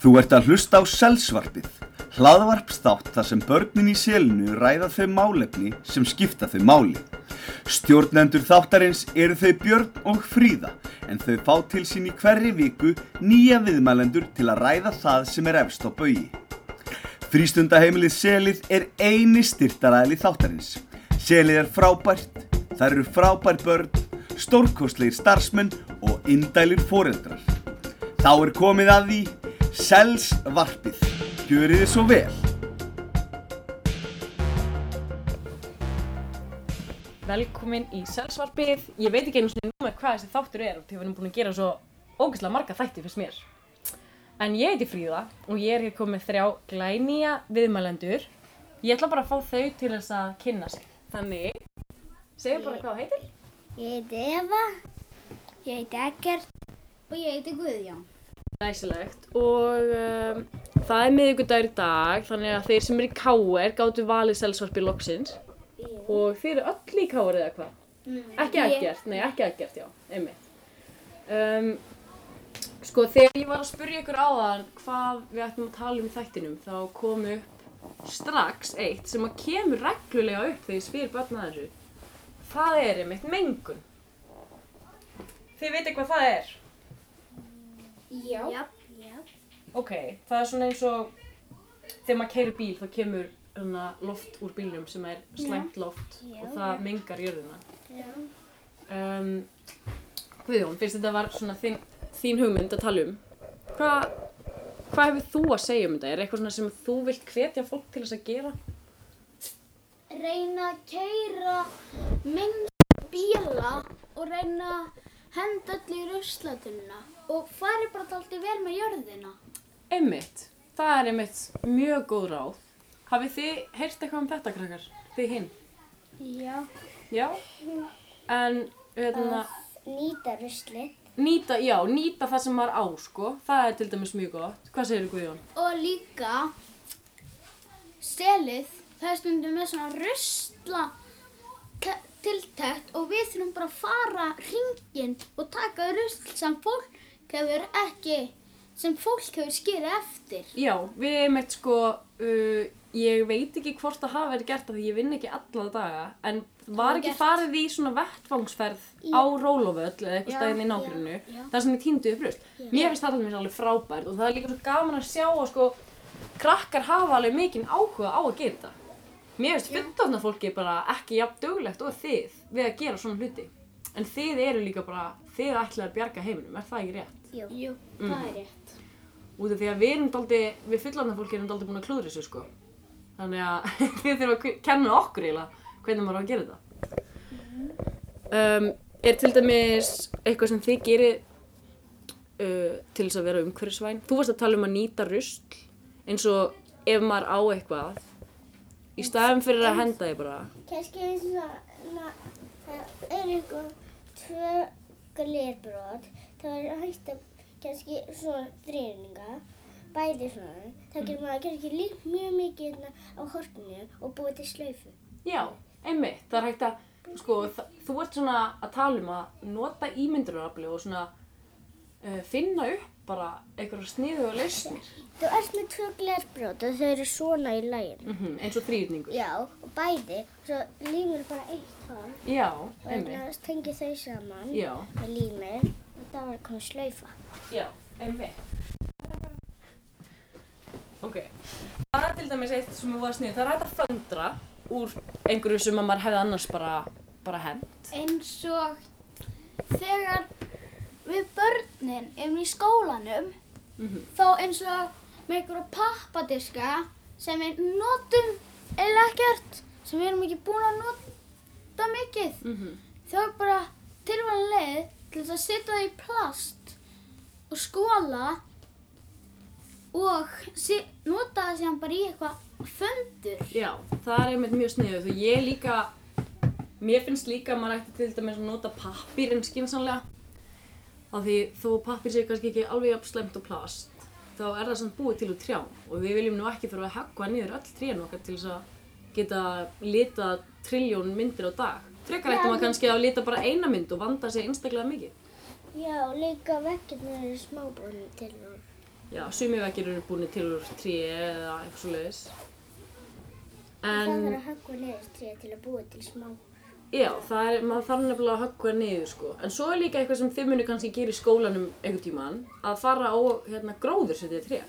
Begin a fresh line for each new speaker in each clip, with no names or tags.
Þú ert að hlusta á Selsvarpið, hlaðvarpstátt þar sem börnin í selinu ræða þau málefni sem skipta þau máli. Stjórnendur þáttarins eru þau Björn og Fríða, en þau fá til sín í hverri viku nýja viðmælendur til að ræða það sem er efst á bögi. Frístundaheimilið Selið er eini styrtaræðli þáttarins. Selið er frábært, það eru frábær börn, stórkostlegir starfsmenn og indælir foreldrar. Þá er komið að því Selsvarpið. Gjörið þið svo vel.
Velkomin í Selsvarpið. Ég veit ekki einu svona númer hvað þessi þáttur er og við erum búin að gera svo ógeðslega marga þætti fyrst mér. En ég heiti Fríða og ég er hér komið með þrjá glænýja viðmælendur. Ég ætla bara að fá þau til þess að kynna sig. Þannig, segðu bara hvað þú heitir.
Ég heiti Eva, ég heiti Eggert og ég heiti Guðjón.
Læsilegt og um, það er miðugudagur í dag þannig að þeir sem eru í K.R. gáttu valið selsvarpi loksins og þeir eru öll í K.R. eða hvað? Ekki ekkert, nei ekki ekkert, já, einmitt. Um, sko þegar ég var að spyrja ykkur áðan hvað við ættum að tala um í þættinum þá kom upp strax eitt sem að kemur reglulega upp þegar ég spyr börn að þessu. Það er einmitt mengun. Þið veitir hvað það er?
Já. Já. Já.
Ok, það er svona eins og þegar maður keyrir bíl þá kemur hana, loft úr bílnum sem er slæmt loft og það mengar jörðina. Um, Guðjón, fyrst þetta var svona þín, þín hugmynd að tala um. Hvað hva hefur þú að segja um þetta? Er eitthvað svona sem þú vilt hvetja fólk til þess að gera?
Reyna að keira minnst bíla og reyna að henda öll í ruslatunna og fari bara alltaf vel með jörðina.
Einmitt, það er einmitt mjög góð ráð. Hafið þið heyrt eitthvað um þetta, krakkar? Þið hinn?
Já.
Já? En, hérna...
Nýta ruslið.
Nýta, já, nýta það sem maður á, sko. Það er til dæmis mjög gott. Hvað segir Guðjón?
Og líka selið, það er stundum með svona rusla te- tiltekt og við þurfum bara að fara ringin og taka rusl sem fólk hefur ekki, sem fólk hefur skýrið eftir.
Já, við erum eitt sko, uh, ég veit ekki hvort það hafa verið gert af því ég vinn ekki alla daga, en var
var
ekki
gert.
farið í svona vettvangsferð á Róloföll eða eitthvað
Já,
stæðin í
já,
nágrinu,
já.
þar sem ég týndu upp rusl. Mér finnst það alveg alveg frábært og það er líka svo gaman að sjá að sko, krakkar hafa alveg mikinn áhuga á að gera þetta. Mér finnst fullorðna fólki bara ekki jafn duglegt og þið við að gera svona hluti. En þið eru líka bara, þið ætlaði að bjarga heiminum, er það ekki rétt?
Jú, Jú það er rétt.
út af því að við erum daldi, við fullandar fólki erum daldi búin að klúðra þessu sko. Þannig að við þurfum að ku- kenna okkur eiginlega hvernig maður á að gera þetta. Um, er til dæmis eitthvað sem þið gerir uh, til þess að vera umhverfisvæn? Þú varst að tala um að nýta rusl eins og ef maður á eitthvað í staðum fyrir að henda því bara.
Kanski eins og na, það er einhver tvö glerbrot, það er hægt að kannski svona dreininga, bæði svona, þá getur maður kannski líkt mjög mikið hérna á hortinu og búið til slaufu.
Já, einmitt, það er hægt að, sko, þa- þú ert svona að tala um að nota ímyndurarafli og svona uh, finna upp bara einhverjar sniðu og lausnir,
Þú ert með tvö glerbrot og þau eru svona í læginu.
mm eins og þrýrningur.
Já, og bæði, svo límur bara eitt horn
Já,
og
einmitt,
það tengir þau saman
já,
með límur og það var komið slaufa.
já, einmitt. Ok, það er til dæmis eitt sem var sniðu, það er hægt að föndra úr einhverju sem að maður hefði annars bara, bara hend.
eins og þegar við börnin erum í skólanum þá eins og með einhverja pappadiska sem við notum eða ekkert sem við erum ekki búin að nota mikið þá er bara tilvæðan leið til þess að setja það í plast og skóla og se- nota það sem bara í eitthvað fundur
Já, það er einmitt mjög sniðuð og ég líka, mér finnst líka að maður ætti til dæmis að nota pappirinn skinsanlega af því þó pappir séu kannski ekki alveg jafn slemt og plast þá er það samt búið til úr trjám og við viljum nú ekki þurfa að hagga niður öll trén okkar til þess að geta lita triljón myndir á dag frekar ætti maður kannski að lita bara eina mynd og vanda sig einstaklega mikið
Já, og líka vekkirnir eru smábúinu til og
Já, sumi vekkir eru búinir til úr tré eða eitthvað svo leiðis.
Það
En,
þarf að höggva niður tríða til að búa til smá.
já, það er, maður þarf nefnilega að höggva niður, sko. En svo er líka eitthvað sem þið munu kannski gera í skólanum einhvern tíman, að fara á, hérna, gróður setja tré.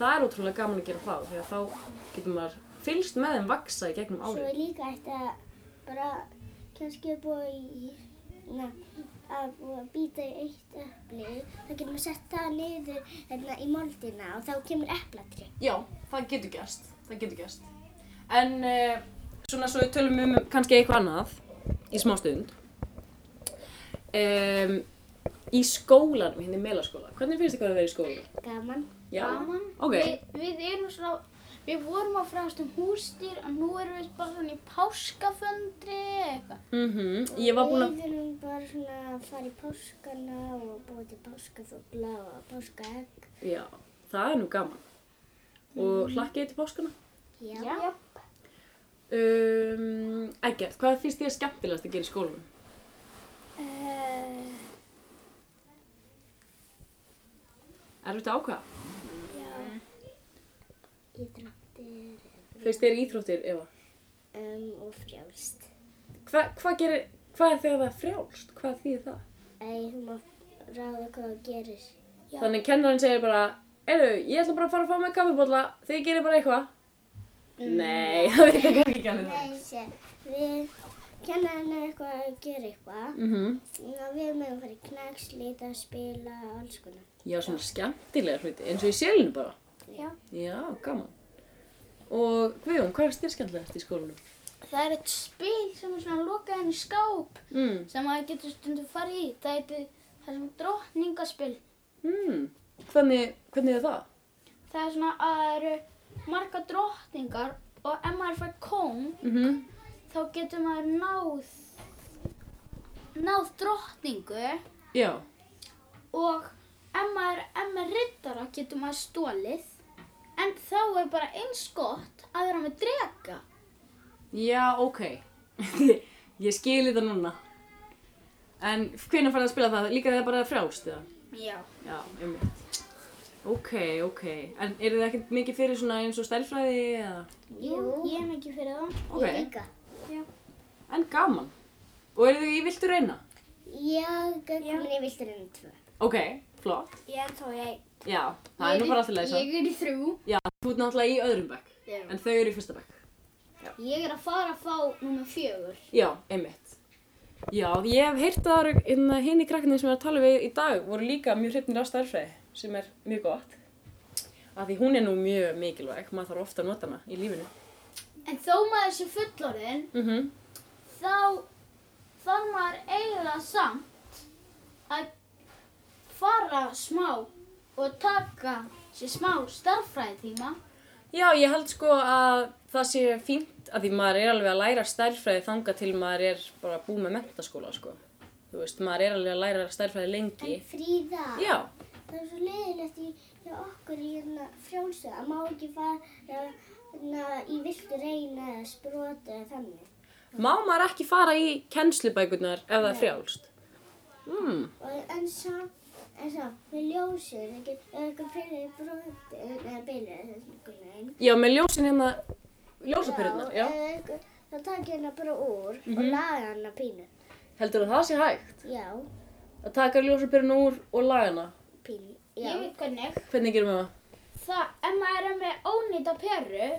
Það er ótrúlega gaman að gera það, því að þá getur maður fylgst með þeim vaksa í gegnum
Svo
árið.
er líka eftir að bara kannski að búa í, na, að búa að býta í eitt epli. Þá getur maður sett það niður hérna í moldina og þá kemur eplatri.
Já, það getur gerst, það getur gerst. En, eh, svona svo við tölum um kannski eitthvað annað í smá stund. Um, í skólanum, hérna í melaskóla, hvernig finnst þið hvað að vera í skólanum?
Gaman.
Já.
Gaman.
Ok.
Við, við erum svona, við vorum að fræðast um húsdýr og nú erum við bara svona í páskaföndri eða eitthvað.
Mm Ég var búin að...
Við erum bara svona að fara í páskana og búa til páskafugla og páskaegg.
Já, það er nú gaman. Og hlakkið til páskana.
Já.
Um, Eggert, hvað finnst þér skemmtilegast að gera í skólanum?
Eh,
Uh,
Erfitt að ákvæða?
já. Ídráttir
Finnst þér íþróttir, Eva?
um, og frjálst.
Hva, hvað gerir... Hvað er þegar það er frjálst? Hvað þýðir það?
Æ, þú má ráða hvað þú gerir.
Þannig kennarinn segir bara, Eru, ég ætla bara að fara að fá mig kaffibólla, þið gerir bara eitthvað. Mm. Nei, það veit ég kannski ekki alveg það.
Nei, sé, við kenna henni eitthvað að gera eitthvað.
Mm
Og við mögum fara í knæks, lita, spila og alls konar.
Já, svona skemmtilega hluti, eins og í sjölinu bara.
Já.
Já, gaman. Og Guðjón, hvað er þér skemmtilegast í skólanum?
Það er eitt spil sem er svona lokað inn í skáp
Mm.
sem maður getur stundum farið í. Það heitir, það er svona drottningaspil.
Hmm, hvernig, hvernig er það?
Það er svona að það eru marga drottningar og ef maður fær kóng
Mm -hmm.
þá getur maður náð, náð drottningu
Já,
og ef maður, ef maður rittara getur maður stólið en þá er bara eins gott að vera með drega
já, ok. ég skili það núna. En hvenær farið að spila það? Líka þegar bara frjálst eða?
Já
Já, einmitt. Ok, ok. En eru þið ekkert mikið fyrir svona eins og stærlfræði eða?
Jú, ég er mikið fyrir það.
Ok.
Ég líka.
En gaman. Og eru þið í viltu reyna?
Já, gögnum ég viltur enn tvö.
Ok, flott.
Ég er þá ég.
Já, það er nú bara alltaf leysa.
Ég er í þrjú
Já, þú ert náttúrulega í öðrum bekk.
Já.
En þau eru í fyrsta bekk.
Ég er að fara að fá nummer fjögur
Já, einmitt. Já, ég hef heyrt að henni krakkarnir sem ég var að tala við í dag voru líka mjög hrypnir á starfræði sem er mjög gott. Af því hún er nú mjög mikilvæg, maður þarf ofta að nota hana í lífinu.
En þó maður sé fullorðin
Mm
þá þarf maður eiginlega samt að fara smá og taka sér smá starffræðitíma
Já, ég held sko að það sé fínt af því maður er alveg að læra stærðfræði þanga til maður er bara búið með mentaskóla sko. Þú veist, maður er alveg að læra stærðfræði lengi.
En fríða.
Já,
Það er svo leiðilegt í, hjá okkur í hérna frjálsu að má ekki fara hérna, í viltu reyna eða sprota eða þannig.
má maður ekki fara í kennslubækurnar ef það er frjálst? Mm.
Og, en samt, en samt, með ljósur, það getur eitthvað fyrir broti eða beilir eða svona einn.
Já, með ljósin hérna, ljósapyrirnar, já.
eða eitthvað- Þá takk ég hana bara úr og laga hana pínu.
Heldur það sé hægt?
Já,
Að taka ljósapyrinu úr og laga hana?
pínu, já.
Ég veit hvernig
Hvernig gerum við það?
Það, ef maður er með ónýta peru, þá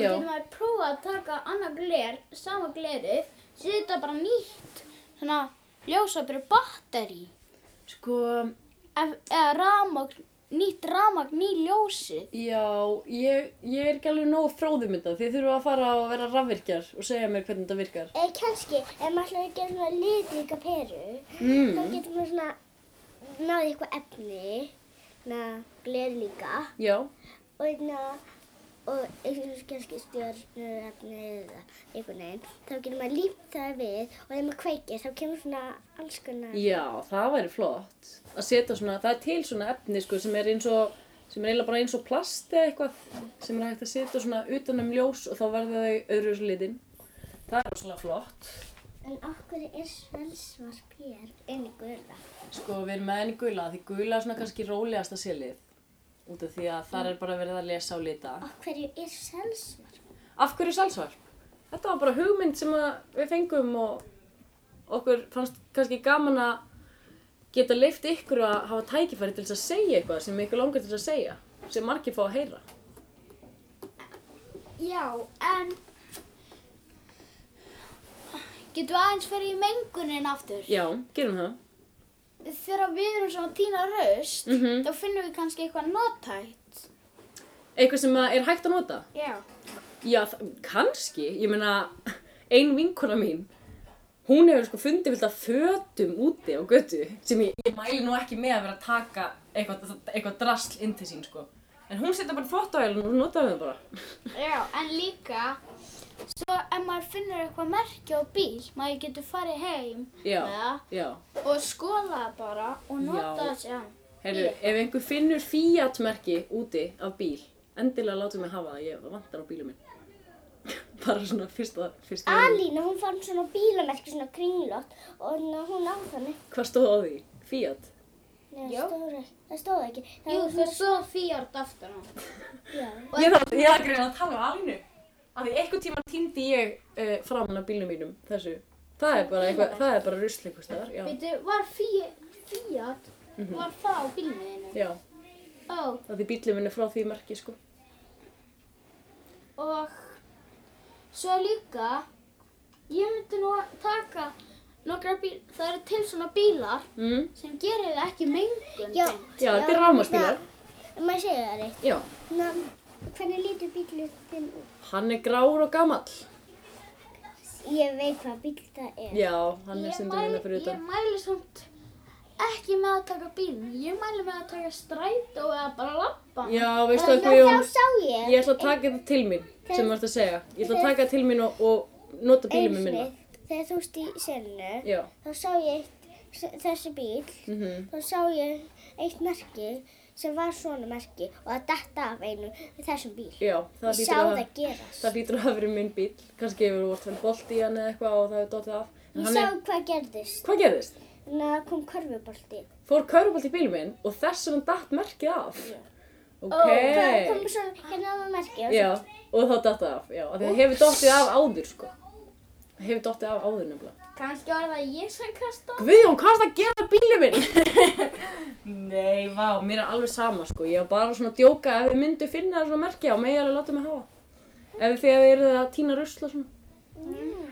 Já.
getur maður prófað að taka annað gler, sama glerið, setja bara nýtt, svona, ljósaperu batteri,
Sko,
eða ramagn, nýtt ramagn í ljósið.
já, ég, ég er ekki alveg nógu fróðumynda. Þið þurfum að fara og vera rafvirkjar og segja mér hvernig þetta virkar.
Eða Eh, kannski, ef maður ætlar að gera svona litríka peru, þá getur maður svona náði eitthvað efni, svona gler líka,
Já,
og hérna, og eitthvað kannski stjórnurefni eða einhvern veginn, þá getur maður límt það við og ef maður kveikir þá kemur svona alls konar.
já, það væri flott. Að setja svona, það er til svona efni sko sem er eins og, sem er eiginlega bara eins og plast eða eitthvað sem er hægt að setja svona utan um ljós og þá verða þau öðru litin. Það er rosalega flott.
En okkur er svelsvarp hér inn í gula.
Sko, við erum með henni gula, því gula er svona kannski rólegasta silið.
Út af því að þar er bara verið að lesa og lita.
Af hverju er selsvarp?
Af hverju selsvarp?
Þetta var bara hugmynd sem að við fengum og okkur fannst kannski gaman að geta leift ykkur að hafa tækifæri til þess að segja eitthvað sem ykkur langar til þess að segja, sem margir fá að heyra.
Já, en getum við aðeins fyrir í mengunin aftur?
Já, gerum það.
Þegar við erum svona tína raust,
Mhm.
þá finnum við kannski eitthvað notætt.
Eitthvað sem að er hægt að nota?
Já.
Já, þ- kannski. Ég meina, ein vinkona mín, hún hefur sko fundið vilt að fötum úti á götu sem ég, ég mæli nú ekki með að vera að taka eitthvað, eitthvað drasl inn til sín, sko. En hún setja bara þvóttavélun og hún notaði það bara.
Já, en líka, svo ef maður finnur eitthvað merki á bíl, maður getur farið heim
Já,
með það
já.
og skoða það bara og nota
Já.
það sér.
Herru, ef einhver finnur Fiat-merki úti af bíl, endilega látum mig hafa það, ég vantar á bílum minn. bara svona fyrsta, fyrsta.
Alína, hún fann svona bílamerki, svona kringlótt og hérna, hún á þannig.
Hvað stóð á því? Fiat?
Nei,
Já.
það stóð ekki. Það stóð ekki. Það
Jú,
var
það svo fíart aftur á.
svona- Já.
Ég þarf ég þarf að greina að tala um Alínu. Af því einhvern tíma týndi ég uh, framan af bílnum mínum þessu. Það er bara eitthvað, það er bara rusl einhvers staðar, já.
Veitu, var fíart,
Mhm.
var það á bílnum þínu?
Já,
Ó,
af því bílum minn er frá því merki, sko.
og svo líka, ég myndi nú að taka nokkra bíl, það eru til svona bílar
Mm.
sem gerir það ekki mengun.
Já,
Já, þetta er rafmagnsbílar.
hérna, Maður segja það reitt.
Já.
Na, hvernig lítur bílinn þinn út?
Hann er grár og gamall.
Ég veit hvað bíl það er.
Já, hann er
Ég
stundum
mæli,
hérna fyrir
ég
utan.
mæli samt ekki með að taka bílinn, ég mæli með að taka strætó eða bara lappa.
Já, veistu það,
Þá
Guðjón,
sá ég.
um- ég ætla að taka þetta til mín, sem þú ert að segja. Ég ætla að taka þetta til mín og, og nota bílum minn minna.
Þegar þú veist í selinu,
Já.
þá sá ég eitt, þessi bíl,
Mm
þá sá ég eitt merki sem var svona merki og það datt af einu þessum bíl.
Já, það
Ég
hlýtur
sá
að
það
hafa-
gerast.
það hlýtur að hafa verið minn bíl. Kannski hefur þú vort hann bolt í hann eða eitthvað og það hefur dottið af. En
Ég
hann
sá
er-
hvað gerðist.
Hvað gerðist?
Þannig að það kom körfubolti.
fór kaurubalt í bílum minn og þess vegna datt merkið af. Ok.
Það kom svona hérna annað merki og
já, og þá datt það af, já. af því Það hefur dottið af áður, sko. Það hefur dottið af áður nefnilega.
Kannski var það ég sem kasta.
Guðjón, hvað er það að gera við bílum minn? Nei, vá, mér er alveg sama, sko. Ég var bara svona að djóka ef þið myndu finna svona merkið á mig alveg láta mig hafa. Ef þið þegar þið eruð að týna rusl og svona.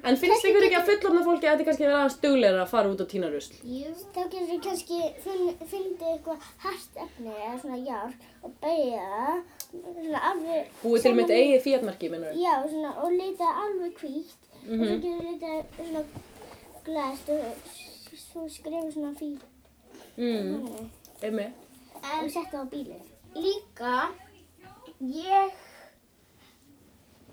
En finnst ykkur ekki að fullorna fólki að þetta er kannski verið aðeins duglegra að fara út og týna rusl?
Jú. Þá getur þú kannski fun- fundið eitthvað hart efni eða svona járn og beigja það, svona alveg...
Búið til
saman
mitt
í-
eigið fíatmerki, minnur
Já, svona, og lita alveg hvítt
Mhm.
og svo getur þetta svona glæst og s- svo skrifa svona fíl
Mm, einmitt.
og setja á bílinn.
Líka, ég,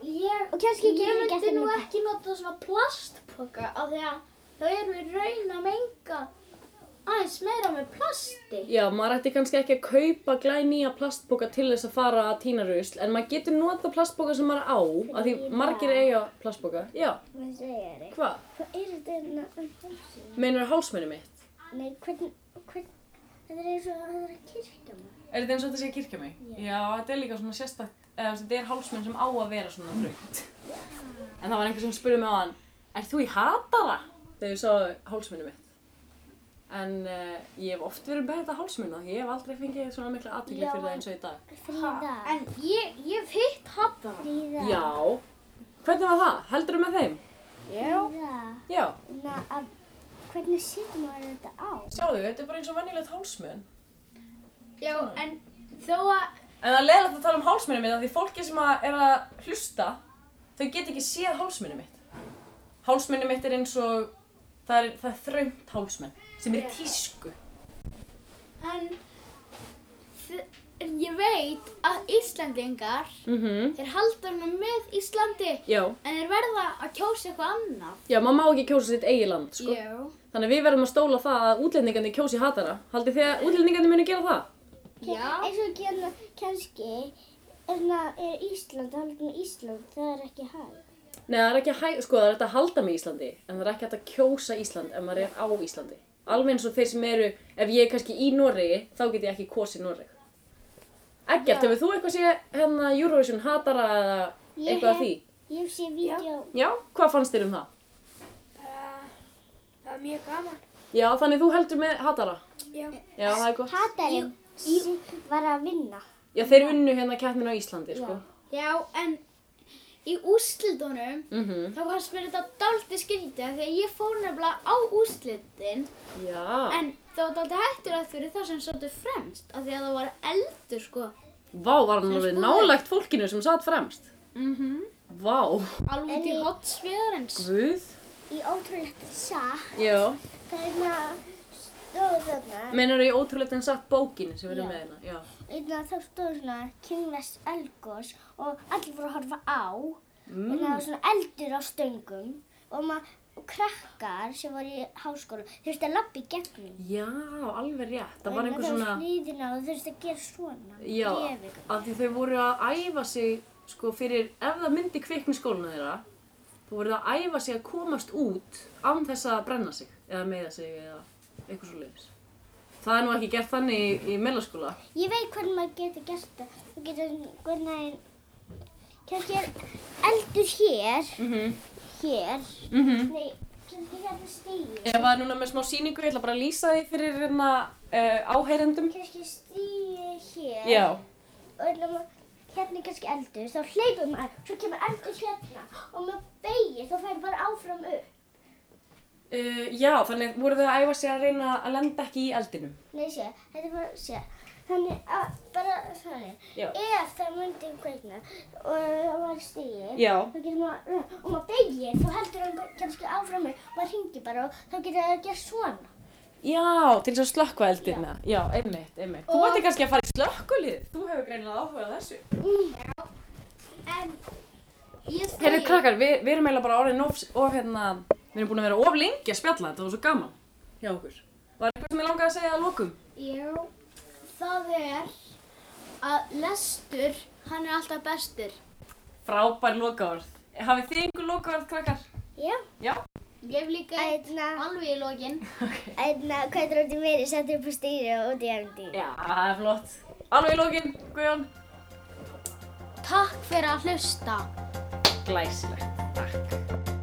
ég,
Og kannski
ég
getur þú gert
myndi
það
nú
líka.
ekki nota svona plastpoka af því að þá erum við raun að menga aðeins meira með plasti.
Já, maður ætti kannski ekki að kaupa glænýja plastbóka til þess að fara að tína rusl en maður getur nota plastbóka sem maður á af því margir eiga plastbóka Já,
Hvað segja þér?
hvað?
Hvað er þetta hérna um hálsinn?
Meinar hálsmenni mitt?
Nei, hvern, hvern, þetta er eins og það er að kirkja maður.
Er þetta eins og þetta sé að kirkja um mig? Já, þetta er líka svona sérstak eða þetta er hálsmenn sem á að vera svona þröngt En það var einhver sem spurði mig á hann Er þú í hatara? Þegar ég sá hálsmenni mitt En uh, ég hef oft verið með þetta hálsmenn og ég hef aldrei fengið svona mikla aðtökli
Já,
fyrir það
en-
eins og í dag
Fríða,
En ég, ég hef hitt hattana.
fríða,
Já, hvernig var það? Heldurðu með þeim?
fríða.
Já
Na, að, hvernig setur maður þetta á?
Sjáðu, þetta er bara eins og venjulegt hálsmenn.
Já, en þó að
En það er leiðilegt að tala um hálsmennið mitt af því fólki sem að er að hlusta, þau get ekki séð hálsmennið mitt. Hálsmennið mitt er eins og, það er, það er þröngt hálsmenn sem er í tísku.
En þ- en ég veit að Íslandingar,
Mhm.
þeir halda hana með Íslandi
Já,
en þeir verða að kjósa eitthvað annað.
já, maður má ekki kjósa sitt eigi land, sko.
Já.
Þannig að við verðum að stóla það að útlendingandi kjósi hatara. Haldið þið að útlendingandi muni gera það?
Já.
Eins og hérna, kannski, hérna er Ísland, haldum Ísland, það er ekki hægt.
Nei, það er ekki hæ... sko, það er hægt að halda með Íslandi, en það er ekki hægt að kjósa Ísland ef maður er á Íslandi. Alveg eins og þeir sem eru, ef ég er kannski í Noregi, þá get ég ekki kosið Noreg. Eggert, hefur þú eitthvað sé hérna Eurovision hatara eða
Ég
eitthvað af
hef-
því?
Ég sé vídeo.
Já, hvað fannst þér um það?
Bara, það var mjög gaman.
Já, þannig þú heldur með hatara?
Já.
Já, það er gott.
Hatarinn sí- var að vinna.
Já, þeir vinnu hérna keppninu á Íslandi, sko.
Já, en í úrslitunum
Mhm.
þá fannst mér þetta daldi skrítið af því að ég fór nefnilega á úrslitin
Já.
en það var daldi hættulegt fyrir það sem sáttu fremst af því að það var eldur sko
Vá, var hann alveg nálægt fólkinu sem satt fremst? Mhm. Vá.
alveg út í hotsviðarins.
Guð.
Í ótrúlegt satt.
Já.
Það er maður stóð þarna.
Meinar þú í ótrúlegt en satt bókinni sem við erum
Já.
með hérna? Já.
Einna þá stóð svona kynvest elgos og allir voru að horfa á. Mm. það var svona eldur á stöngum og maður og krakkar sem voru í háskóla þurfti að labba í gegnum.
Já, alveg rétt. Það var einhver
Það
svona...
var sniðina og þurfti að gera svona.
Já,
Bréfið.
af því þau voru að æfa sig sko fyrir, ef það myndi kvikni skóluna þeirra þá voru það að æfa sig að komast út án þess að brenna sig eða meiða sig eða eitthvað svo leiðis Það er nú ekki gert þannig í, í meðlaskóla
Ég veit hvernig maður getur gert það. Þú getur hvernig, kannski er eldur hér, hér, nei, kannski hérna stígur.
Ef það er núna með smá sýningu, ég ætla bara að lýsa því fyrir hérna uh, áheyrendum
Kannski stígur hér
Já,
og hérna, ma- hérna er kannski eldur, þá hleypur maður, svo kemur eldur hérna og maður beigir, þá fær bara áfram upp.
uh, já, þannig voru þau að æfa sig að reyna að lenda ekki í eldinum
Nei, sé, þetta er bara, sé, þannig að, bara þannig,
Já.
ef það myndi kveikna og það var stígir,
Já.
þá getur maður, og maður beigir, þá heldur hann bara kannski áfram mig, maður hringir bara og þá getur það að gera svona.
Já, til þess að slökkva eldina Já, einmitt, einmitt Þú ætti kannski að fara í slökkulið Þú hefur greinilega áhugað þessu
En ég
Herru
segi,
krakkar, við, við erum eiginlega bara orðin of, of hérna, við erum búin að vera of lengi að spjalla, þetta var svo gaman hjá okkur. Var eitthvað sem ég langaði að segja að lokum?
já, það er að lestur, hann er alltaf bestur.
Frábær lokaorð. Hafið þið einhver lokaorð krakkar?
Já,
Já.
Ég hef líka eitt
ætna,
alveg í lokin.
ætna, hvað er út í meiri, settur upp á stígir og út í endi.
Já, það er flott. Alveg í lokin, Guðjón.
Takk fyrir að hlusta.
Glæsilegt. Takk.